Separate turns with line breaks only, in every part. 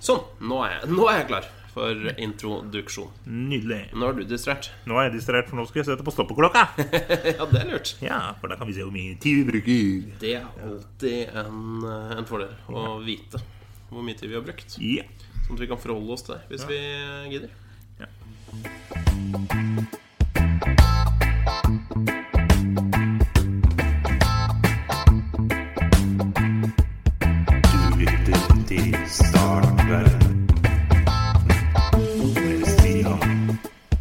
Sånn, nå er, jeg, nå er jeg klar for introduksjon.
Nydelig.
Nå er du distrahert.
Nå er jeg distrahert, for nå skal jeg sette på stoppeklokka.
Ja, det er lurt.
Ja, for da kan vi se hvor mye tid vi bruker.
Det er alltid en, eh, en fordel å vite hvor mye tid vi har brukt.
Ja.
Sånn at vi kan forholde oss til det hvis vi gidder.
Du lytter til Startverden med Stian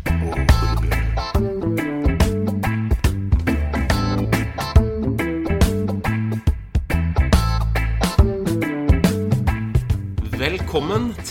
og Torbjørn.
Velkommen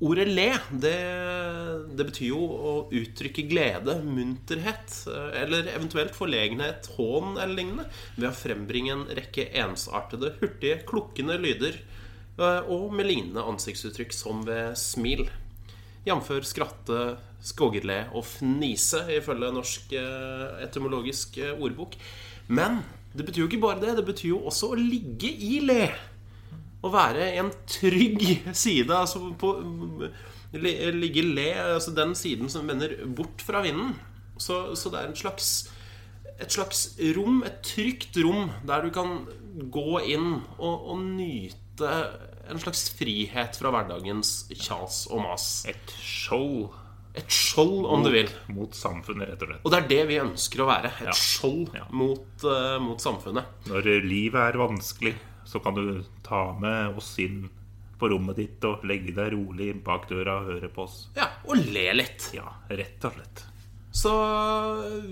ordet le, det, det betyr jo å uttrykke glede, munterhet, eh, eller eventuelt forlegenhet, hån eller lignende, ved å frembringe en rekke ensartede, hurtige, klukkende lyder, eh, og med lignende ansiktsuttrykk som ved smil. Jf. skratte, skoggerle og fnise, ifølge norsk eh, etymologisk eh, ordbok. Men det betyr jo ikke bare det, det betyr jo også å ligge i le. Å være en trygg side, altså på li- Ligge i le, altså den siden som vender bort fra vinden. Så, så det er en slags, et slags rom, et trygt rom, der du kan gå inn og, og nyte en slags frihet fra hverdagens kjas og mas.
Et show
Et skjold, om du vil.
mot samfunnet, rett og slett.
Og det er det vi ønsker å være. Et
Ja.
skjold
Ja.
mot, eh, mot samfunnet.
Når livet er vanskelig, så kan du ta med oss inn på rommet ditt og legge deg rolig bak døra og høre på oss.
Ja, Og le litt.
Ja, rett og slett.
Så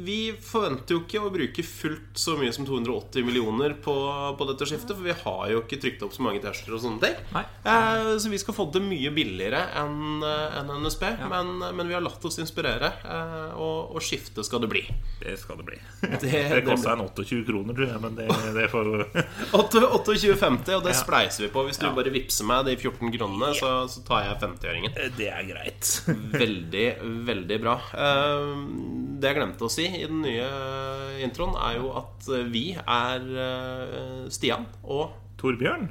vi forventer jo ikke å bruke fullt så mye som 280 millioner på, på dette skiftet, for vi har jo ikke trykt opp så mange terskler og sånne ting.
Nei.
Eh, så vi skal få det mye billigere enn eh, enn NSB, men, men vi har latt oss inspirere, eh, og, og skifte skal det bli.
Det skal det bli. Det,
det
kosta en 28 kroner, tror jeg, men det, det får
8 28,50, og det
Ja.
spleiser vi på. Hvis du bare vippser meg de 14 kronene, så, så tar jeg 50-øringen.
Det er greit.
Veldig, veldig bra. Eh, Det jeg glemte å si i den nye eh, introen, er jo at vi er eh, Stian. Og,
Torbjørn?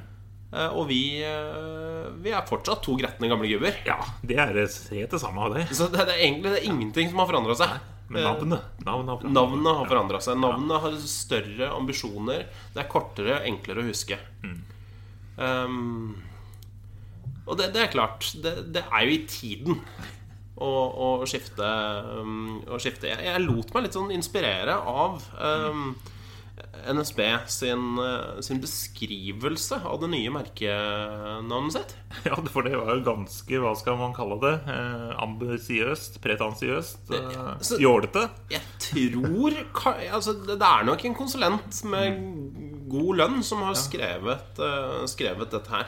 eh, og vi, eh, vi er fortsatt to gretne gamle gubber.
Ja, det er helt det samme av det.
Så det, det er egentlig det er ingenting som har forandra seg.
Men navnet? Navn, navn, navn.
Navnet har forandra seg. Navnet har større ambisjoner. Det er kortere og enklere å huske. Um, og det, det er klart. Det, det er jo i tiden å, å skifte. Um, å skifte. Jeg, jeg lot meg litt sånn inspirere av um, NSB sin, eh, sin beskrivelse av det nye merkenavnet sitt.
Ja, for det var jo ganske, hva skal man kalle det, eh, ambisiøst, pretensiøst, eh,
Så-
jålete.
Jeg tror ka- altså, Det det er nok en konsulent med god lønn som har skrevet, eh, skrevet dette her.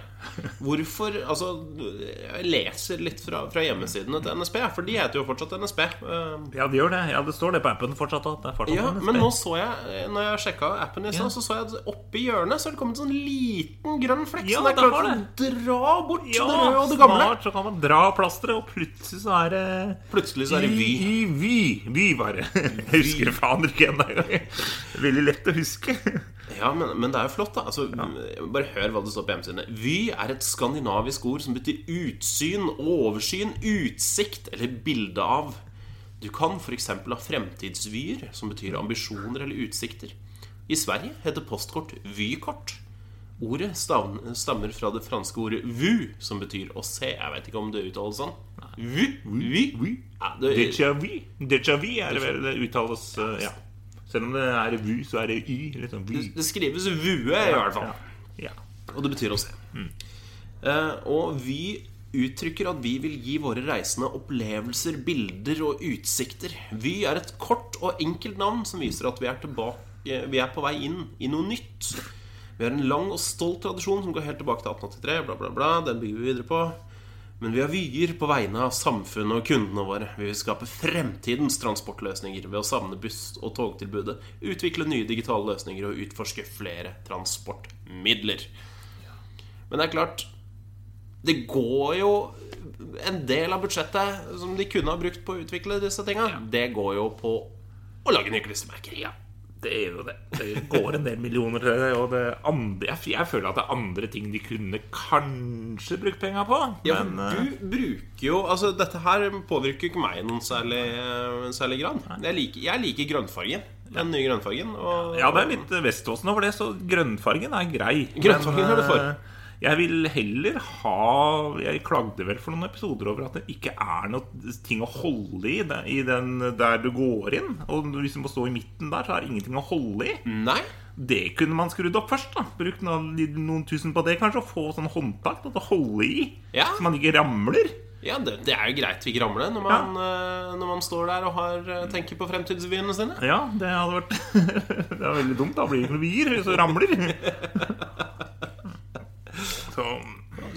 Hvorfor Altså, jeg leser litt fra, fra hjemmesidene til NSB, for de heter jo fortsatt NSB. eh.
Ja, det gjør det. Ja, det står det på appen fortsatt. at Det er fortsatt
Ja,
NSB.
men nå så jeg Når jeg sjekka appen i stad, så så jeg at oppe i hjørnet så har det kommet en sånn liten grønn flekk.
Ja,
som det er
det
klart
har
å dra bort
ja,
det røde og det gamle.
snart så kan man dra plasteret, og plutselig så er det
Plutselig så er det Vy.
I, i vy. Vy, bare. Jeg husker faen ikke ennå engang. Veldig lett å huske.
Ja, men, men det er jo flott, da. Altså, Bare hør hva det står på hjemmesidene. Vy er et skandinavisk ord som betyr utsyn, oversyn, utsikt eller bilde av. Du kan f.eks. ha fremtidsvyer, som betyr ambisjoner eller utsikter. I Sverige heter postkort vykort. Ordet stav- stammer fra det franske ordet vu, som betyr å se. Jeg vet ikke om det uttales sånn. Vu, vy.
Vy.
Ja, det,
Déjà vu. Déjà vu er det vel det uttales eh, Ja. Selv om det er vy, så er det y. Liksom vy.
det skrives vue, i hvert fall.
Ja.
Og det betyr å se. Eh, og vi uttrykker at vi vil gi våre reisende opplevelser, bilder og utsikter. Vy er et kort og enkelt navn som viser at vi er, tilbake, vi er på vei inn i noe nytt. Vi har en lang og stolt tradisjon som går helt tilbake til 1883. Bla, bla, bla. Den bygger vi videre på. Men vi har vyer på vegne av samfunnet og kundene våre. Vi vil skape fremtidens transportløsninger ved å savne buss- og togtilbudet, utvikle nye digitale løsninger og utforske flere transportmidler. Men det er klart Det går jo en del av budsjettet som de kunne ha brukt på å utvikle disse tinga, det går jo på å lage nye klistremerker.
Det er jo det. Det går en del millioner til det. Og det andre, jeg, jeg føler at det er andre ting de kunne kanskje brukt penga på.
Ja, for
men eh,
du bruker jo Altså, dette her påvirker jo ikke meg i noen særlig, eh, særlig grad. Jeg liker, jeg liker grønnfargen. Den nye grønnfargen. Og,
ja, det er litt Veståsen over det, så grønnfargen er grei.
Grønnfargen
Men,
er du for.
eh, Jeg vil heller ha Jeg klagde vel for noen episoder over at det ikke er noe ting å holde i det- i den der du går inn. Og hvis du liksom må stå i midten der, så er det ingenting å holde i.
Nei.
Det kunne man skrudd opp først. da Brukt noen, noen tusen på det, kanskje, og få sånn håndtak da, til å holde i.
Ja.
Så man ikke ramler.
Ja, det, det er jo greit vi ramler når man, eh, når man står der og har, eh, tenker på fremtidsvyene sine.
Ja, det hadde vært Det er veldig dumt. Da blir det ikke noe bier hvis du ramler. Så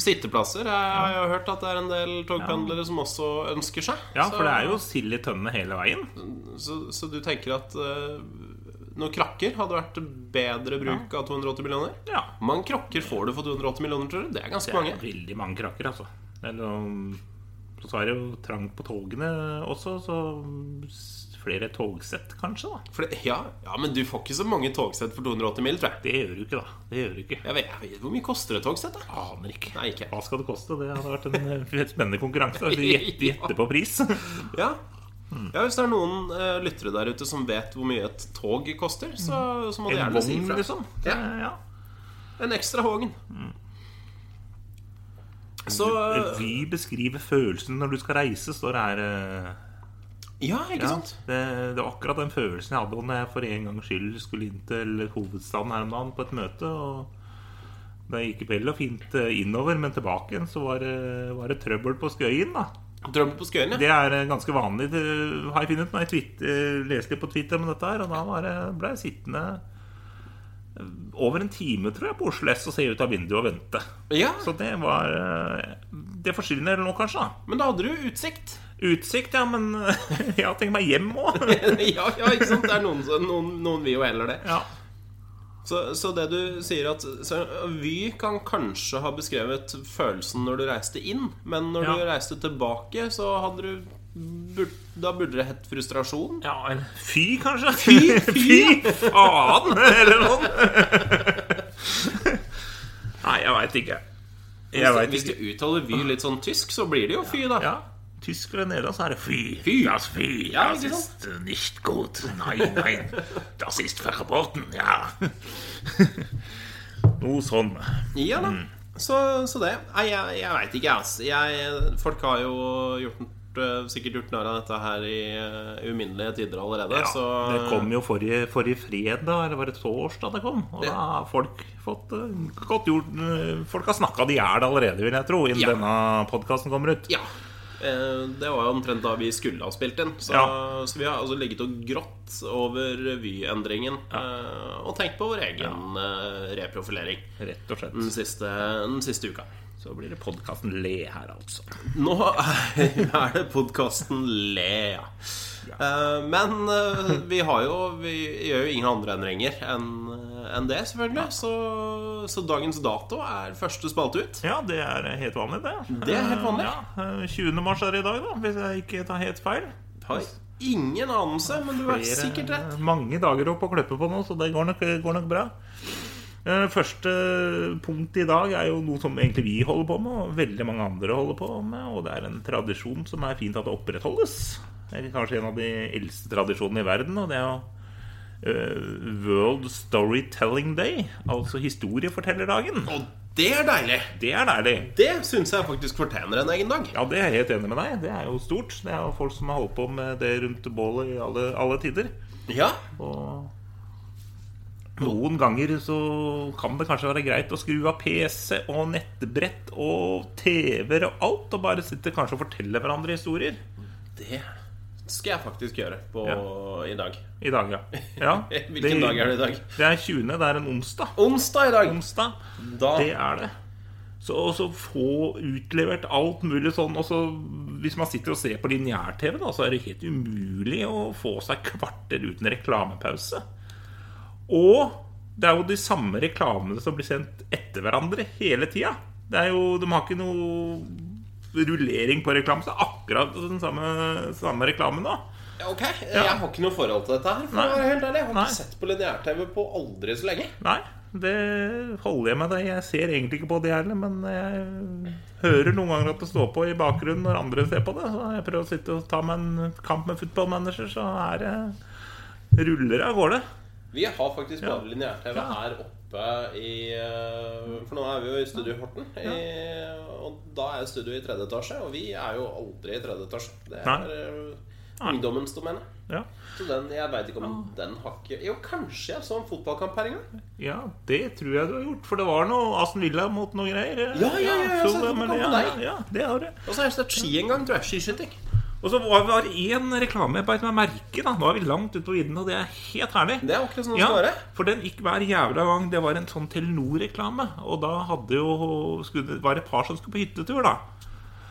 Sitteplasser jeg, har jeg hørt at det er en del togpendlere som også ønsker seg.
Ja,
Så-
for det er jo sild i tønne hele veien.
så, så du tenker at eh, noen krakker hadde vært bedre bruk av 280 millioner?
Ja.
Hvor mange krakker får du for 280 millioner, tror du? Det er ganske
Det er
mange.
veldig mange krakker, altså. Eller um, så er det jo trangt på togene også, så s- flere togsett kanskje, da.
For det, ja, ja, men du får ikke så mange togsett for 280 mill., tror jeg.
Det gjør du ikke, da. Det gjør du ikke.
Jeg vet, jeg vet Hvor mye koster et togsett, da?
Aner ikke.
Nei, ikke.
Hva skal det koste? Det hadde vært en eh, helt spennende konkurranse. Altså, gjette, gjette på pris.
Ja. ja, Hvis det er noen eh, lyttere der ute som vet hvor mye et tog koster, så, så må de
Mm. En
gjerne si
vogn,
ifra.
liksom. Det, ja.
En ekstra vogn.
Mm.
Så eh,
Revy beskriver følelsen når du skal reise, står det her. eh,
Ja, ikke
Ja,
sant?
det, det var akkurat den følelsen jeg hadde når jeg for en gangs skyld skulle inn til hovedstaden her om dagen på et møte. og Det gikk vel og fint eh, innover, men tilbake igjen så var det, var det trøbbel på Skøyen. da.
Drømmen på Skøyen, ja.
Det er eh, ganske vanlig, det har jeg funnet ut. når Jeg twitt- eh, leste litt på Twitter om dette her, og da var det- ble jeg sittende eh, over en time, tror jeg, på Oslo S og se ut av vinduet og vente.
ja.
Så det var eh, Det forsvinner nå, kanskje. da.
Men da hadde du utsikt.
Utsikt, ja, men jeg har tenkt meg hjem òg.
ja, ja, ikke sant? Det er noen, som- noen, noen vil jo heller det.
Ja.
Så, så det du sier at så Vy kan kanskje ha beskrevet følelsen når du reiste inn, men når
Ja.
du reiste tilbake, så hadde du bur- Da burde det hett frustrasjon.
Ja, eller fy, kanskje? Fy, faen, eller noe Nei, jeg veit ikke. Jeg
Hvis,
vet
du- hvis
ikke.
du uttaler Vy litt sånn tysk, så blir det jo fy, da.
Ja, tysk eller nederlandsk så er det fy.
Fy.
Das fy.
Ja,
das
ikke
ist nicht gut. Nei, nei. Das ist verboten. Ja. Noe sånn.
Ja da. Så, så det. Nei, jeg, jeg veit ikke, ass. Jeg, folk har jo gjort, eh, sikkert gjort narr av dette her i eh, uminnelige tider allerede,
Ja,
så
Det kom jo forrige, forrige fredag, eller var det torsdag det kom? Og
Det-
da har folk fått eh, godt gjort eh, Folk har snakka de er det allerede, vil jeg tro, innen
Ja.
denne podkasten kommer ut.
Ja. Eh, Det var jo omtrent da vi skulle ha spilt inn. Så,
Ja.
så vi har altså ligget og grått over revyendringen eh, og tenkt på vår egen eh, reprofilering
Rett og slett.
den siste, den siste uka.
Så blir det podkasten Le her, altså.
Nå er det podkasten Le, ja. Eh, Men eh, vi har jo Vi gjør jo ingen andre endringer enn enn det, selvfølgelig. Så, så dagens dato er første spalte ut.
Ja, det er helt vanlig, det.
Det er helt vanlig.
Eh, Ja, eh, 20. mars er det i dag, da, hvis jeg ikke tar helt feil.
Har ingen anelse, men du har
Flere-
sikkert rett.
Eh, Mange dager opp å kløppe på nå, så det går nok, går nok bra. Eh, Første punkt i dag er jo noe som egentlig vi holder på med, og veldig mange andre holder på med, og det er en tradisjon som er fint at det opprettholdes. Det er kanskje en av de eldste tradisjonene i verden, og det er jo eh, World Storytelling Day, altså historiefortellerdagen.
Og det er deilig!
Det er deilig.
Det syns jeg faktisk fortjener en egen dag.
Ja, det er jeg helt enig med deg. Det er jo stort. Det er jo folk som har holdt på med det rundt bålet i alle, alle tider.
Ja,
Og noen ganger så kan det kanskje være greit å skru av PC og nettbrett og TV-er og alt, og bare sitte kanskje og fortelle hverandre historier.
det skal jeg faktisk gjøre på, i dag.
I dag, ja. ja
Hvilken dag er det i dag?
Det er 20. Det er en onsdag.
Onsdag i dag!
Onsdag,
Da
det er det. Så og så få utlevert alt mulig sånn og så Hvis man sitter og ser på lineær-TV, da, så er det helt umulig å få seg kvarter uten reklamepause. Og det er jo de samme reklamene som blir sendt etter hverandre hele tida. Det er jo, de har ikke noe rullering på reklame, så det er akkurat den samme, samme reklamen da.
Ja, Ok, eh, Jeg har ikke noe forhold til dette her. For
Nei.
å være helt ærlig Jeg har
Nei.
ikke sett på lineær-TV på aldri så lenge.
Nei, det holder jeg med deg. Jeg ser egentlig ikke på det heller, men jeg hører noen ganger at det står på i bakgrunnen når andre ser på det. Så jeg prøver å sitte og ta meg en kamp med football manager, så er det ruller av gårde.
Vi har faktisk
Ja.
bare lineær-TV
Ja.
her oppe i eh, For nå er vi jo i studio i Horten. I, og da er studio i tredje etasje, og vi er jo aldri i tredje etasje. Det
Nei.
er eh,
Nei.
ungdommens domene.
Ja.
Så den, jeg veit ikke om den har ikke Jo, kanskje jeg så en fotballkamp her en gang.
ja, det tror jeg du har gjort, for det var noe Aston Villa mot noe greier.
Ja, ja, ja, jeg har
så
sett
det- men
på
ja,
deg.
ja, det har du.
Og så har jeg sett ski en gang, tror jeg. Skiskyting.
Og så var var det én reklame på et merke. da Nå er vi langt ute på vidden, og det er helt herlig.
Det er akkurat sånn det
Ja,
skal være.
for den gikk hver jævla gang. Det var en sånn Telenor-reklame. Og da hadde jo skulle, var det et par som skulle på hyttetur, da.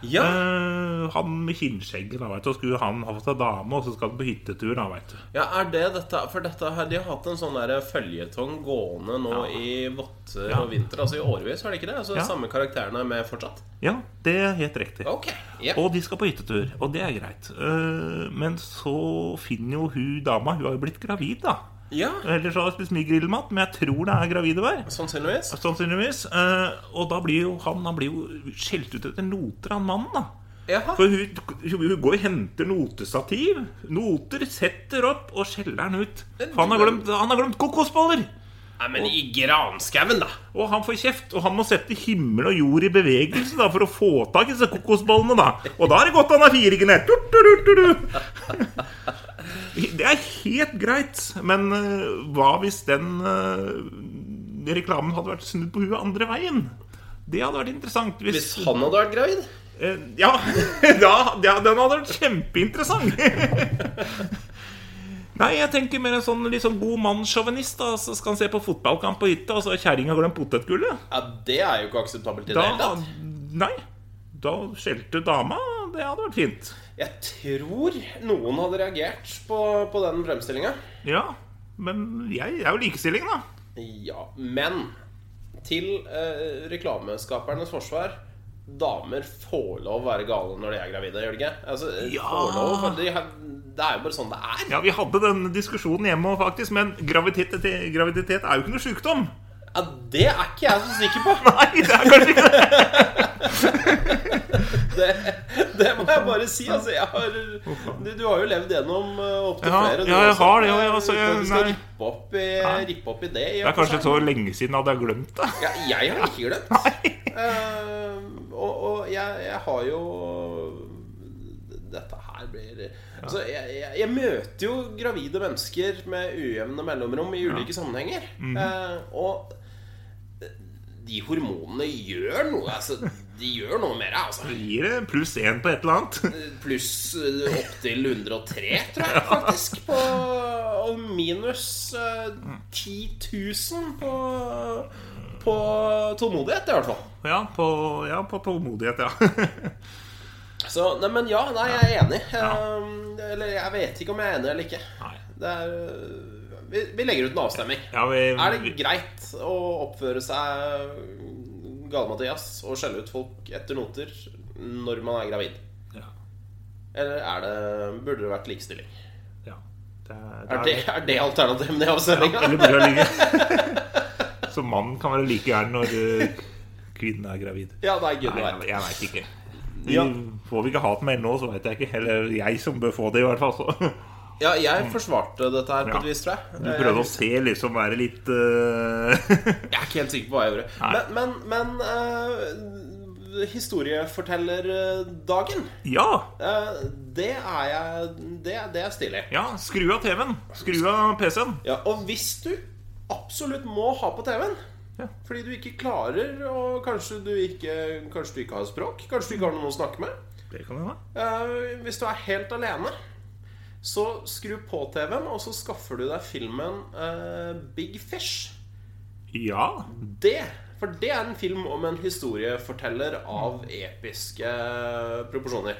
Ja.
Eh, han med kinnskjegget, da, vet du. Og skulle han ha fått seg dame, og så skal han på hyttetur, da, vet du.
Ja, er det dette For dette her, de har hatt en sånn der føljetong gående nå i votter
Ja.
og vinter, altså i årevis, har de ikke det? Altså
Ja.
samme karakterene med fortsatt?
Ja, det er helt riktig.
Ok. ja.
Og de skal på hyttetur, og det er greit. Eh, men så finner jo hun dama Hun har jo blitt gravid, da.
Ja,
Ellers har hun spist mye grillmat, men jeg tror det er gravide hver.
sannsynligvis.
Sannsynligvis. Eh, og da blir jo han, han blir jo skjelt ut etter noter, han mannen, da.
Jaha.
For hun, hun går og henter notestativ. Noter, setter opp og skjeller han ut. For han har glemt, han har glemt kokosboller!
Nei, men i granskauen, da!
Og han får kjeft, og han må sette himmel og jord i bevegelse da, for å få tak i disse kokosbollene. da. Og da er det godt han har fire knær. Tut, tut, tut, tut. Det er helt greit, men eh, hva hvis den eh, reklamen hadde vært snudd på huet andre veien? Det hadde vært interessant. Hvis,
Hvis han hadde vært gravid?
eh, ja, ja, ja, den hadde vært kjempeinteressant. Nei, jeg tenker mer en sånn litt sånn god mann-sjåvinist. da, Så skal han se på fotballkamp på hytta, og så har kjerringa glemt potetgullet.
Ja, Det er jo ikke akseptabelt i det hele
Da,
tatt.
nei, da skjelte dama. Det hadde vært fint.
Jeg tror noen hadde reagert på, på den fremstillinga.
Ja, men jeg er jo likestilling, da.
Ja, men til eh, reklameskapernes forsvar Damer får lov å være gale når de er gravide, gjør de ikke? Altså,
Ja.
får lov, for de har, det er jo bare sånn det er.
Ja, Vi hadde den diskusjonen hjemme òg, faktisk. Men graviditet, graviditet er jo ikke noe sjukdom.
Ja, det er ikke jeg så sikker på.
Nei, det er kanskje ikke det.
Det, det må jeg bare si. Altså, jeg har, du, du har jo levd gjennom eh, opptil
Ja,
flere. du
ja, jeg
også.
har det, og jeg-
Uten
altså,
at
jeg-
du skal
nei.
rippe opp, i,
Nei.
rippe opp i det. altså. i og
Det er
for
kanskje
seg.
så lenge siden hadde jeg glemt det.
Ja, jeg har ikke glemt. Eh, og og jeg, jeg har jo Dette her blir altså, jeg, jeg, jeg møter jo gravide mennesker med ujevne mellomrom i ulike sammenhenger. Eh, og de hormonene gjør noe. Altså, de gjør noe med deg. Altså.
Gir det pluss én på et eller annet?
Pluss opptil 103, tror jeg faktisk. På, og minus eh, 10 000 på, på tålmodighet, i hvert fall.
Ja, på, ja, på tålmodighet, ja.
Så, nei, men ja, nei, jeg er enig. Ehm, Eller jeg vet ikke om jeg er enig eller ikke.
Nei.
Det er, øh, vi, vi legger ut en avstemning.
Ja, vi,
Er det greit å oppføre seg gale-Mathias og skjelle ut folk etter noter når man er gravid?
ja,
Eller er det, burde det vært likestilling?
ja. Det,
Er det, er det alternativet i
Eller
avstemninga?
burde jeg ligge? Så mannen kan være like gæren når eh, kvinnen er gravid.
Ja, nei, gud,
Nei,
nei.
jeg, jeg veit ikke.
Ja.
Får vi ikke hatmail nå, så veit jeg ikke. Eller jeg som bør få det, i hvert fall. Så.
Ja, jeg forsvarte dette her på
Ja.
et vis, tror jeg.
Du prøvde å se liksom være litt eh,
Jeg er ikke helt sikker på hva jeg gjorde.
Nei.
Men, men, men øh, historiefortellerdagen
Ja!
Eh, Det er jeg Det, det er stilig.
ja, Skru av TV-en. Skru av PC-en.
Ja, og hvis du absolutt må ha på TV-en
Ja.
fordi du ikke klarer og kanskje du ikke, kanskje du ikke har språk, kanskje du ikke har noen å snakke med
Det kan hende.
eh, Hvis du er helt alene, så skru på TV-en, og så skaffer du deg filmen eh, Big Fish
Ja.
Det, for det er en film om en historieforteller av episke eh, proporsjoner.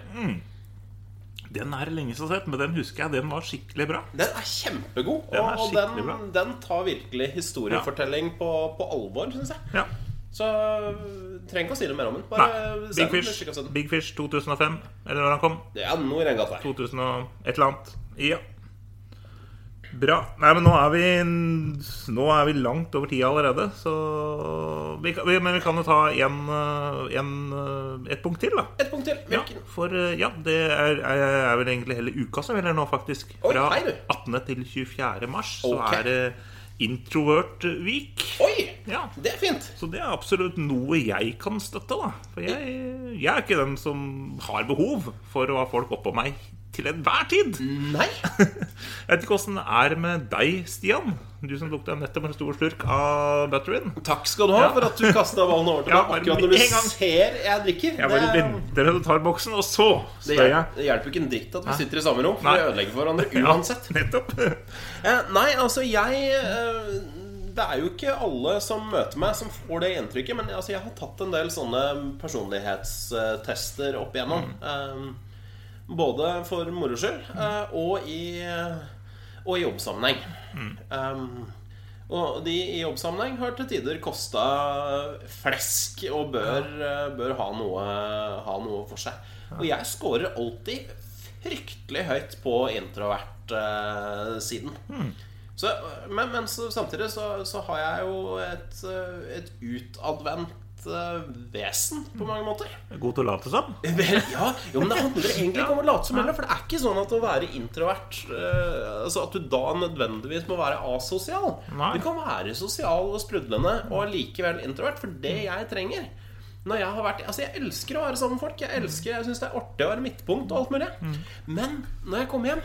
Den er det lenge siden jeg har sett, men den husker jeg. Den var skikkelig bra.
Den er kjempegod,
Den
og
er skikkelig
den,
bra.
den tar virkelig historiefortelling på, på alvor, syns jeg.
Ja.
Så øh, trenger ikke å si noe mer om den.
Nei.
Bare se
Big
den.
Fish,
sjekk oss den.
Big Fish 2005, eller når han kom.
Det er noe i den gata her.
2000 og et eller annet. Ja. Bra. Nei, men nå er vi, nå er vi langt over tida allerede, så vi, kan- vi, Men vi kan jo ta en, eh, en, eh, et punkt til, da.
Et punkt til.
Ja,
Hvilken?
for eh, ja, det er, er, er vel egentlig hele uka som gjelder nå, faktisk.
Oi,
Fra
hei, du.
18. til 24. mars
Ok.
så er det Introvert Week.
Oi!
Ja.
Det er fint.
Så det er absolutt noe jeg kan støtte, da. For jeg, jeg er ikke den som har behov for å ha folk oppå meg til enhver tid.
Nei.
Jeg vet ikke åssen det er med deg, Stian. Du som lukta nettopp en stor slurk av butteren.
Takk skal du ha
Ja.
for at du kasta ballen over til
Ja,
meg
bare
akkurat når du
en gang.
ser jeg drikker.
Jeg bare
det,
venter til du tar boksen, og så
det,
spør
hjelper,
jeg.
det hjelper ikke en dritt at vi sitter i samme rom, for
Nei.
vi ødelegger for hverandre
Ja,
uansett.
nettopp.
Eh, nei, altså jeg eh, Det er jo ikke alle som møter meg, som får det inntrykket. Men altså, jeg har tatt en del sånne personlighetstester opp igjennom. Eh, både for moro skyld eh, og, i, og i jobbsammenheng. Eh, og de i jobbsammenheng har til tider kosta flesk og bør, eh, bør ha, noe, ha noe for seg. Og jeg scorer alltid fryktelig høyt på eh, introvert-siden. Så, men, men så, samtidig så, så har jeg jo et, eh, et utadvendt eh, vesen på mange måter.
God til å late som.
Vel, ja, jo, men det handler egentlig ikke om å late som heller. For det er ikke sånn at å være introvert eh, Altså at du da nødvendigvis må være asosial.
Nei.
Du kan være sosial og sprudlende og likevel introvert. For det jeg trenger når jeg har vært Altså, jeg elsker å være sammen med folk. Jeg elsker, jeg syns det er artig å være midtpunkt og alt mulig. Men når jeg kommer hjem,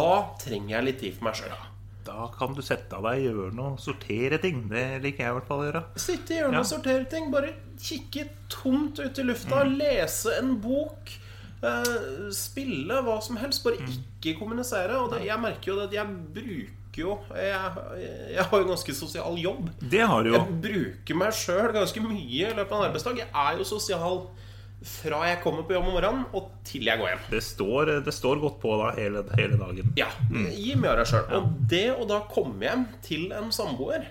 da trenger jeg litt tid for meg sjøl.
Da kan du sette deg i hjørnet og sortere ting. Det liker jeg i hvert fall å gjøre.
Sitte i hjørnet og sortere ting. Bare kikke tomt ut i lufta. Lese en bok. eh, spille hva som helst. Bare ikke kommunisere. Og det, jeg merker jo det at jeg bruker jo Jeg, jeg har jo ganske sosial jobb.
Det har du jo.
Jeg bruker meg sjøl ganske mye i løpet av en arbeidsdag. Jeg er jo sosial fra jeg kommer på jobb om morgenen og til jeg går hjem.
Det står, det står godt på da hele, hele dagen.
Ja,
Mm.
gi mye av deg sjøl. Og det å da komme hjem til en samboer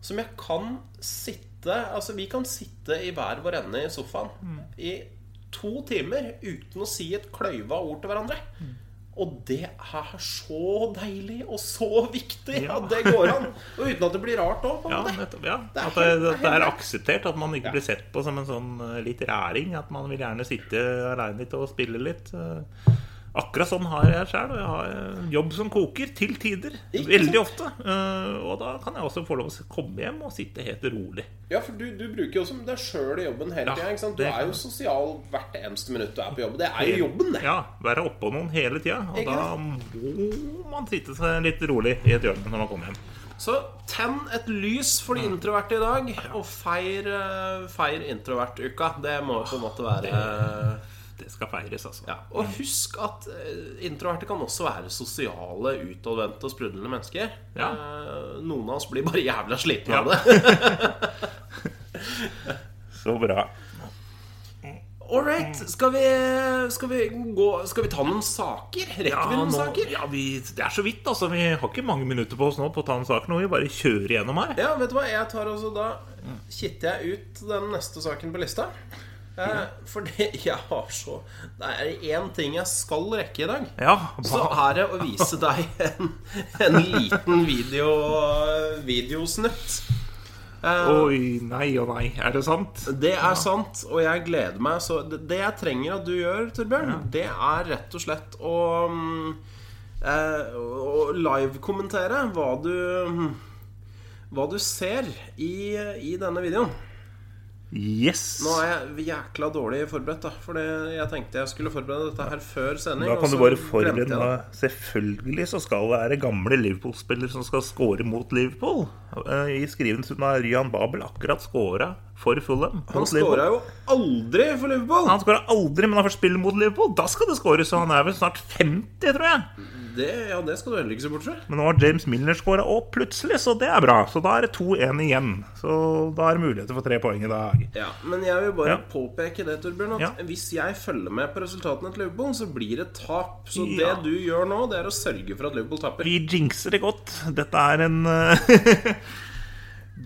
som jeg kan sitte Altså, vi kan sitte i hver vår ende i sofaen
Mm.
i to timer uten å si et kløyva ord til hverandre.
Mm.
Og det er så deilig og så viktig
Ja.
at det går an. Og uten at det blir rart òg, på en
Ja,
måte.
nettopp, ja.
Det er helt-
At det,
det er
at det
helt
er
rett.
akseptert at man ikke blir sett på som en sånn eh, litt ræring. At man vil gjerne sitte aleine litt og spille litt. eh. Akkurat sånn har jeg sjøl. Og jeg har en jobb som koker, til tider.
Ikke
Veldig ofte. Eh, Og da kan jeg også få lov å komme hjem og sitte helt rolig.
Ja, for du, du bruker jo også deg sjøl i jobben hele
Ja,
tida. ikke sant? Du
det
er
kan
jo sosial hvert eneste minutt du er på jobb. Det er jo jobben, det.
Ja, Være oppå noen hele tida. Og
Ikke
da må man sitte seg litt rolig i et hjørne når man kommer hjem.
Så tenn et lys for de
Mm.
introverte i dag, og feir, eh, feir introvertuka. Det må på en måte være
Det skal feires, altså.
ja. Og husk at eh, introverte kan også være sosiale, utadvendte og sprudlende mennesker.
Ja.
Eh, Noen av oss blir bare jævla slitne av det.
Så bra.
All right, skal vi, skal vi gå Skal vi ta noen saker? Rekker
Ja,
vi noen
nå,
saker?
ja vi, det er så vidt, altså. Vi har ikke mange minutter på oss nå på å ta en sak nå. Vi bare kjører gjennom her.
Ja, vet du hva? Jeg tar også da Kitter jeg ut den neste saken på lista. Eh, fordi jeg har så Det er én ting jeg skal rekke i dag.
Ja,
Så
hva-
er det å vise deg en, en liten video, videosnutt. eh,
Oi, nei og nei. Er det sant?
Det er sant, og jeg gleder meg. Så det det jeg trenger at du gjør, Torbjørn, det er rett og slett å mm, eh, Å å live-kommentere hva du mm, Hva du ser i, i denne videoen.
Yes!
Nå er jeg jækla dårlig forberedt, da. For jeg tenkte jeg skulle forberede dette her før sending.
Da
og
kan du
så
bare
glemte jeg
forberede
det.
deg. Selvfølgelig så skal det være gamle Liverpool-spiller som skal score mot Liverpool. eh, i skrivelsen av Ryan Babel akkurat scora for Fulham.
Han
mot Liverpool.
skåra jo aldri for Liverpool!
Han skåra aldri, men han først spiller mot Liverpool. Da skal det skåres, så han er vel snart 50, tror jeg.
Det, ja, det skal du heller ikke se bort fra.
Men nå har James Milner skåra òg, plutselig, så det er bra. Så da er det 2-1 igjen. Så da er det muligheter for tre poeng i dag.
Ja, men jeg vil bare
Ja.
påpeke det, Torbjørn, at
Ja.
hvis jeg følger med på resultatene til Liverpool, så blir det tap. Så
Ja.
det du gjør nå, det er å sørge for at Liverpool taper.
Vi jinxer det godt. Dette er en eh,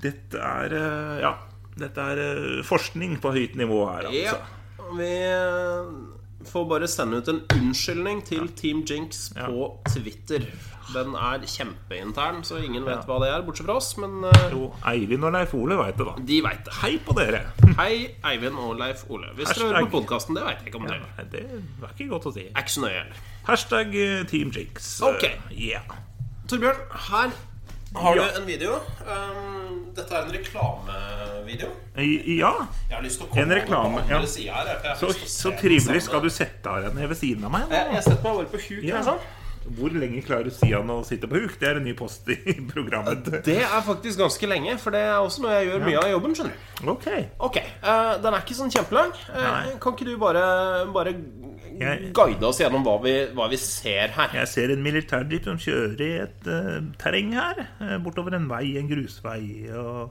Dette er eh, Ja. Dette er eh, forskning på høyt nivå her,
Ja,
altså.
vi eh, får bare sende ut en unnskyldning til Team Jinx på Twitter. Den er kjempeintern, så ingen vet hva det er, bortsett fra oss. Men eh,
Jo, Eivind og Leif Ole veit det, da.
de veit det.
Hei på dere!
Hei, Eivind og Leif Ole. Hvis dere
Hashtag.
hører på podkasten, det veit jeg ikke om dere gjør.
Nei, Det er ikke godt å si.
Er ikke så nøye heller.
Hashtag eh, Team Jinx.
Ok.
Eh, Yeah.
Torbjørn, her har
Ja.
du en video. Um, dette er en reklamevideo.
I- Ja,
Jeg har lyst til å komme
En reklame,
over på
ja.
andre siden her, for jeg har
så,
lyst til å se
så
den
trivelig
samme-
skal du sette av henne ved siden av meg.
Jeg, jeg setter meg bare på huk.
Ja.
her, sånn.
Hvor lenge klarer Stian å sitte på huk? Det er en ny post i programmet.
Det er faktisk ganske lenge, for det er også noe jeg gjør mye av jobben. skjønner du
Ok.
Ok, eh, Den er ikke sånn kjempelang. Eh,
Nei.
kan ikke du bare, bare
Jeg-
guide oss gjennom hva vi, hva vi ser her?
Jeg ser en militærjeep som kjører i et eh, terreng her. eh, bortover en vei, en grusvei. Og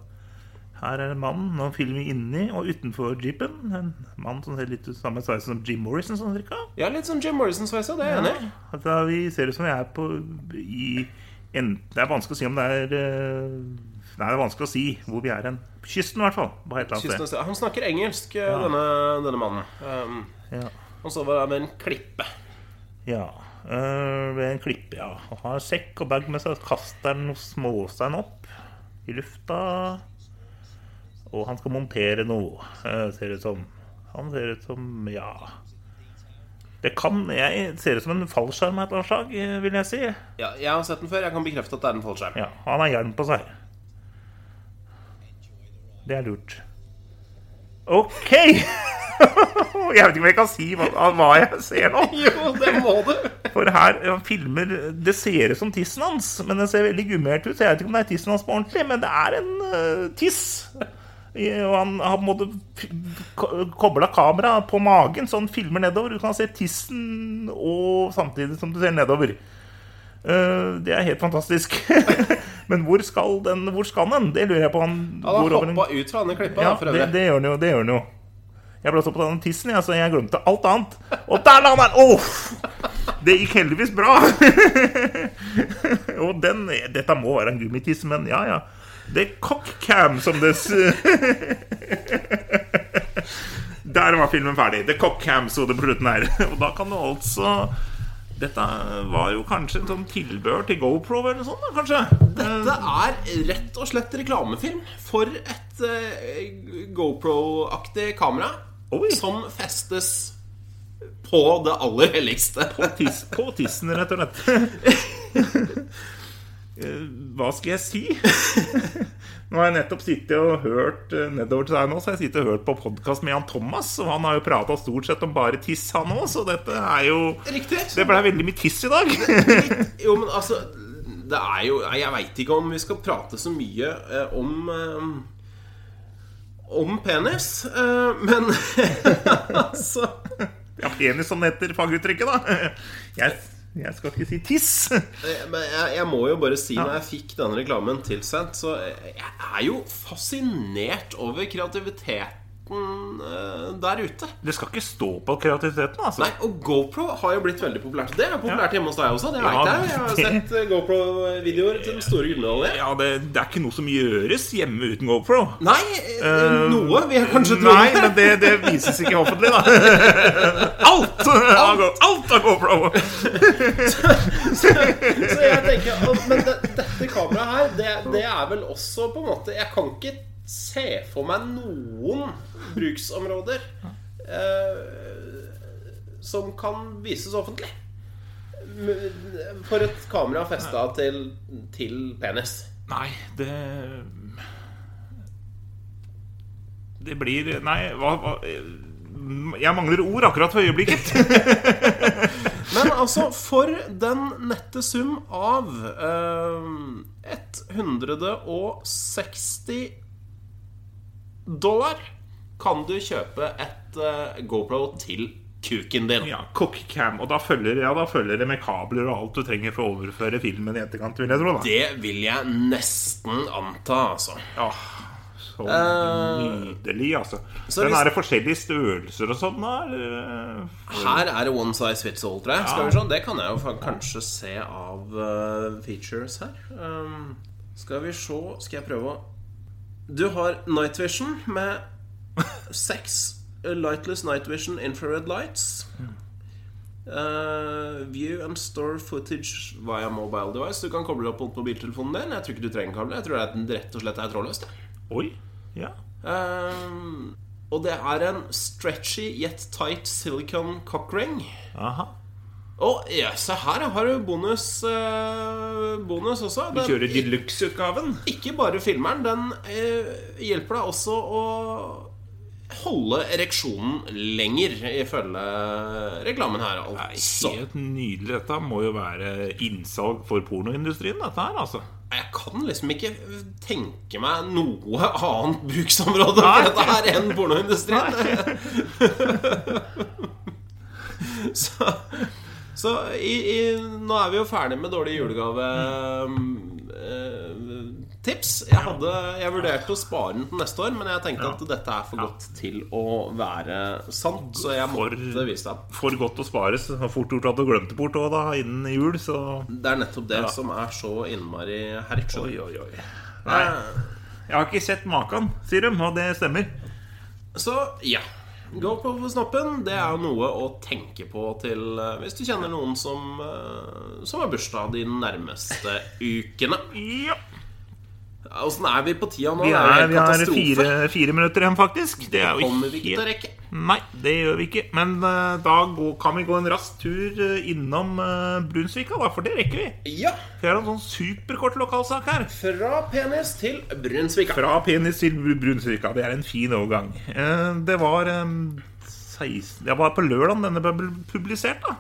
her er en mann. Nå filmer vi inni og utenfor jeepen. En mann som ser litt ut samme sveis som Jim Morrison, sånn cirka.
Ja, Litt sånn Jim Morrison-sveise, det er jeg enig i.
Altså, vi ser ut som vi er på i en, Det er vanskelig å si om det er eh, Nei, det er vanskelig å si hvor vi er hen. Kysten, i hvert fall. På et eller
Kysten av
annet sted.
sted. Han snakker engelsk, eh, denne, denne mannen. Um,
Ja.
han står bare der med en klippe.
ja. Eh, ved en klippe, ja. Og har en sekk og bag med seg. Kaster noen småstein opp i lufta. Og han skal montere noe, eh, ser det ut som. Han ser ut som Ja. Det kan jeg Ser ut som en fallskjerm av et eller annet slag, eh, vil jeg si.
Ja, jeg har sett den før. Jeg kan bekrefte at det er en fallskjerm.
Ja, han har hjelm på seg. Det er lurt. Ok! jeg vet ikke om jeg kan si hva, hva jeg ser nå.
Jo, det må du!
For her han filmer Det ser ut som tissen hans, men den ser veldig gummert ut. Så jeg vet ikke om det er tissen hans på ordentlig, men det er en eh, tiss. I- Og han har på en måte kobla kameraet på magen, så han filmer nedover. Du kan se tissen og samtidig som du ser nedover. Eh, det er helt fantastisk. men hvor skal den? Hvor skal den? Det lurer jeg på. Han,
Han
går
har
over en-
hoppa ut fra denne klippa,
ja,
da, for
det,
øvrig.
det gjør den jo. Det gjør den jo. Jeg ble så på den tissen, jeg, så jeg glemte alt annet. Og der la han den! Åh! Det gikk heldigvis bra. Og den Dette må være en gummitiss, men ja, ja. Det er cockcam som det s- Der var filmen ferdig. The cockcam sto det på slutten her. Og da kan du altså Dette var jo kanskje en sånn tilbør til GoPro eller noe sånt, da, kanskje?
Det er rett og slett reklamefilm for et eh, GoPro-aktig kamera
Oi.
som festes på det aller helligste.
tiss, på tissen, rett og slett. Eh, Hva skal jeg si? Nå har jeg nettopp sittet og hørt eh, nedover til deg nå, så har jeg sittet og hørt på podkast med Jan Thomas, og han har jo prata stort sett om bare tiss, han òg, så dette er jo
Riktig.
Det blei veldig mye tiss i dag.
Jo, men altså Det er jo Jeg veit ikke om vi skal prate så mye eh, om eh, om penis, eh, men altså
Ja, penis som det heter faguttrykket, da. Jeg, jeg skal ikke si tiss.
eh, Men jeg, jeg må jo bare si, når jeg fikk denne reklamen tilsendt, så eh, jeg er jo fascinert over kreativiteten eh, der ute.
Det skal ikke stå på kreativiteten, altså.
Nei, og GoPro har jo blitt veldig populært. Det er populært hjemme hos deg også. Det
Ja,
vet jeg. Jeg har
det-
sett eh, GoPro-videoer til den store gullmedaljen.
Ja, det, det er ikke noe som gjøres hjemme uten GoPro.
Nei, eh, noe vil jeg kanskje tro.
Nei, men det, det vises ikke offentlig, da. Alt! Alt, Alt av GoPro!
Så jeg tenker, å, Men det, dette kameraet her, det, det er vel også på en måte Jeg kan ikke se for meg noen bruksområder eh, som kan vises offentlig. M- For et kamera festa til, til penis.
Nei, det Det blir Nei, hva, hva Jeg mangler ord akkurat for øyeblikket.
Men altså, for den nette sum av eh, 160 dollar kan du kjøpe et eh, GoPro til kuken din.
Ja, Cookcam. Og da følger, ja, da følger det med kabler og alt du trenger for å overføre filmen i etterkant, vil jeg tro. da
Det vil jeg nesten anta, altså.
Åh, Så nydelig, altså.
så
Men
hvis-
er det forskjellige størrelser og sånn, da? Eller?
Her er det one size fits all, tror jeg. Skal vi se, Det kan jeg jo fa- kanskje se av eh, features her. Um, skal vi se Skal jeg prøve å Du har night vision med seks eh, lightless night vision infrared lights. Eh, view and store footage via mobile device. Du kan koble det opp mot mobiltelefonen din. Jeg tror ikke du trenger kabel. Jeg tror det er- rett og slett er trådløst. jeg.
Oi. Ja.
Ehm, og det er en stretchy yet tight silicon cockring.
Aha.
Og ja, se her har du bonus, eh, bonus også.
Vi
Den,
kjører deluxe-utgaven.
ikke bare filmeren. Den eh, hjelper deg også å holde ereksjonen lenger, ifølge reklamen her, altså.
Helt nydelig. Dette må jo være innsalg for pornoindustrien, dette her, altså.
Jeg kan liksom ikke tenke meg noe annet bruksområde
Nei.
for dette her enn pornoindustrien. så så i, i, nå er vi jo ferdig med dårlige julegavetips. Jeg, hadde, jeg vurderte å spare den til neste år, men jeg tenkte at dette er for godt til å være sant. Så jeg
For-
måtte vise deg.
For godt å spares. Det var Fort gjort at du glemte bort òg, da, innen jul, så
Det er nettopp det som er så innmari herk. skjønner du.
Nei,
Eh,
jeg har ikke sett maken, sier de, og det stemmer.
Så ja. GoPro for snoppen, det er jo noe å tenke på til eh, hvis du kjenner noen som, eh, som har bursdag de nærmeste ukene.
Ja.
Åssen er vi på tida nå?
Vi
Det jo
er, vi har
katastrofe.
fire, fire minutter igjen, faktisk. Det er jo
Kommer vi ikke til å
helt
rekke?
Nei, det gjør vi ikke. Men eh, da gå, kan vi gå en rask tur eh, innom eh, Brunsvika, da, for det rekker vi.
Ja.
Vi har en sånn superkort lokalsak her.
Fra penis til Brunsvika.
Fra penis til Bru- Brunsvika. Det er en fin overgang. Eh, Det var eh, 16 Det var på lørdag denne ble publisert, da.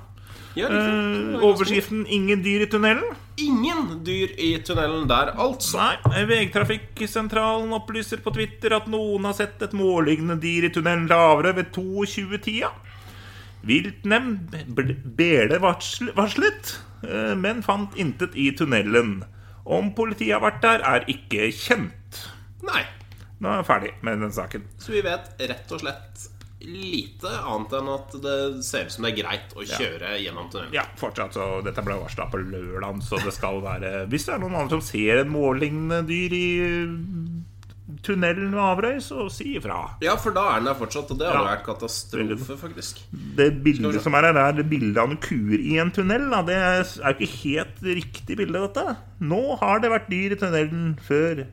Ja, riktig.
Eh, Overskriften 'Ingen dyr i tunnelen'.
Ingen dyr i tunnelen der, altså.
Nei, Vegtrafikksentralen opplyser på Twitter at noen har sett et målliggende dyr i tunnelen lavere ved 22-tida. Viltnemnd bl- bele varsl- varslet, eh, men fant intet i tunnelen. Om politiet har vært der, er ikke kjent.
Nei.
Nå er jeg ferdig med den saken.
Så vi vet rett og slett lite annet enn at det ser ut som det er greit å kjøre gjennom tunnelen.
Ja, fortsatt, så Dette ble varsla på lørdag, så det skal være Hvis det er noen andre som ser en mållignende dyr i eh, tunnelen ved Averøy, så si ifra.
Ja, for da er den der fortsatt, og det hadde
Ja.
vært katastrofe, faktisk.
Det bildet som er her, er det bildet av noen kuer i en tunnel. Da. Det er jo ikke helt riktig bilde, dette. Nå har det vært dyr i tunnelen før.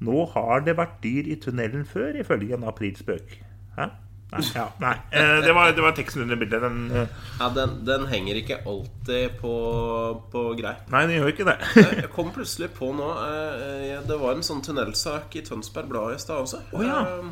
Nå har det vært dyr i tunnelen før, ifølge en aprilspøk. Hæ? Nei. Ja, nei. Eh, det, var, det var teksten under bildet. Den, eh,
Ja, den, den henger ikke alltid på, på greit.
nei, den gjør ikke det.
Jeg kom plutselig på nå eh, eh, Det var en sånn tunnelsak i Tønsberg Blad i stad også.
ja.
Eh,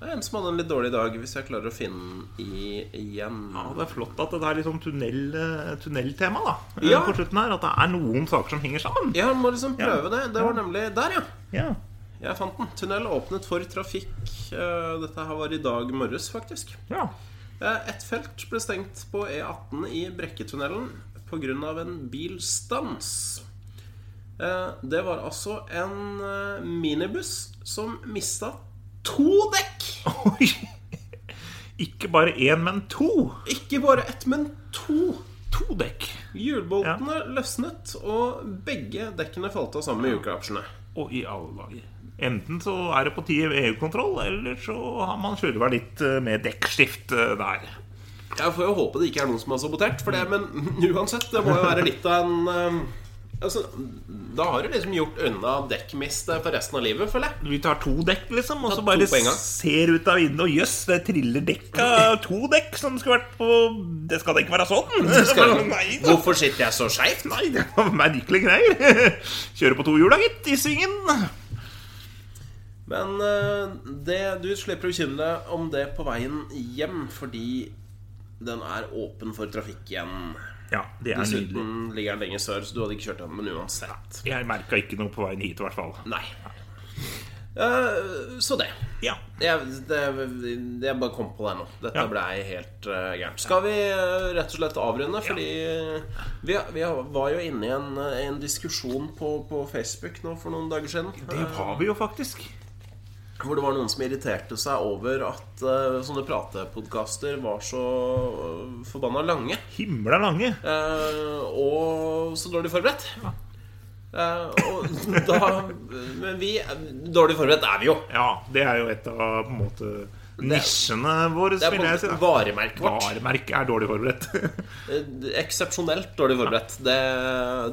Det er en som hadde en litt dårlig dag, hvis jeg klarer å finne den i, igjen.
Ja, det er flott at det er litt sånn tunnel, eh, tunneltema da, eh,
Ja.
på slutten her. At det er noen saker som henger sammen.
Ja, må liksom prøve det. Det var
Ja.
nemlig Der, ja.
Ja.
Jeg fant den. Tunnel åpnet for trafikk. Eh, Dette her var i dag morges, faktisk.
ja.
Eh, Et felt ble stengt på E18 i Brekketunnelen pga. en bilstans. Eh, Det var altså en eh, minibuss som mista to dekk!
Oi. Ikke bare én, men to.
Ikke bare ett, men to.
To dekk.
Hjulboltene løsnet, og begge dekkene falt av sammen med hjulklapsjene.
Og i alle dager. Enten så er det på tide med EU-kontroll, eller så har man sjølva litt eh, med dekkskift eh, der.
Jeg får jo håpe det ikke er noen som har sabotert for det, men uansett, det må jo være litt av en eh, Altså, da har du liksom gjort unna dekkmist for resten av livet, føler jeg.
Vi tar to dekk, liksom, og
Ta
så
to
bare
på en gang.
ser ut av vinduet, og jøss, det triller dekk av to dekk som skulle vært på Det skal da ikke være sånn!
Skal,
Nei, da.
hvorfor sitter jeg så skeivt?
Nei, det var merkelige greier. Kjøre på to hjul, da, gitt, i svingen.
Men eh, det, du slipper å bekymre deg om det på veien hjem, fordi den er åpen for trafikk igjen.
Ja, det er nydelig.
Dessuten ligger den lenger sør, så du hadde ikke kjørt den, men uansett.
Jeg merka ikke noe på veien hit, i hvert fall.
Nei. Eh, så det.
Ja.
Jeg, det, jeg bare kom på det nå. Dette
Ja.
ble helt eh, gærent. Skal vi eh, rett og slett avrunde? Fordi eh, vi, vi var jo inne i en, eh, en diskusjon på, på Facebook nå for noen dager siden.
Det var vi jo faktisk.
Hvor det var noen som irriterte seg over at eh, sånne pratepodkaster var så eh, forbanna lange.
Himla lange.
eh, og så dårlig forberedt. Eh, og da Men vi Dårlig forberedt er vi jo.
Ja, det er jo et av på en måte nisjene våre,
Det er på
vil
en
jeg si.
måte
da.
varemerket vårt.
Varemerket er dårlig forberedt.
Eh, Eksepsjonelt dårlig forberedt. Det,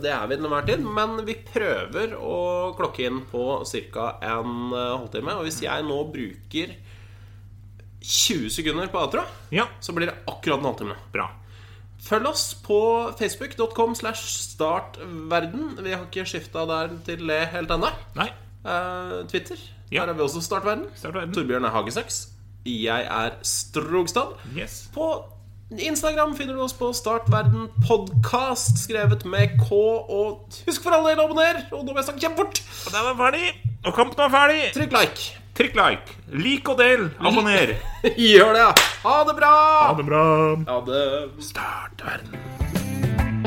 det er vi til enhver tid. Men vi prøver å klokke inn på ca. en eh, halvtime. Og hvis jeg nå bruker 20 sekunder på outro,
Ja,
så blir det akkurat en halvtime.
bra.
Følg oss på facebook.com slash startverden. Vi har ikke skifta der til det helt ennå.
Nei,
Eh, Twitter.
Ja.
Der er vi også startverden.
start verden.
Torbjørn er Hagesaks. Jeg er Strogstad.
Yes.
På Instagram finner du oss på Startverden podcast skrevet med K. Og husk for all del å abonnere! Og nå må jeg snakke kjempefort!
Og der var den ferdig. Og kampen er ferdig.
Trykk like.
Trykk like. Lik og del. Abonner.
Gjør det! ja. Ha det bra!
Ha det bra.
Ha det.
Start verden.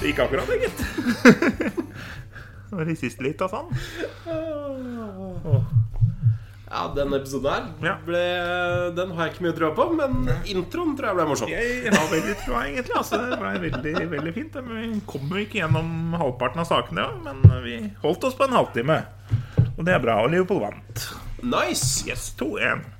Det gikk akkurat, det, gitt. Det var i siste litt av sånn.
Ja, den episoden
Ja.
her ble, Den har jeg ikke mye trua på, men introen tror jeg ble morsom.
Jeg har veldig troa, egentlig. Altså, det ble veldig, veldig fint. Men Vi kom jo ikke gjennom halvparten av sakene, ja, men vi holdt oss på en halvtime. Og det er bra. Og Liverpool vant.
Nice!
Yes, 2-1.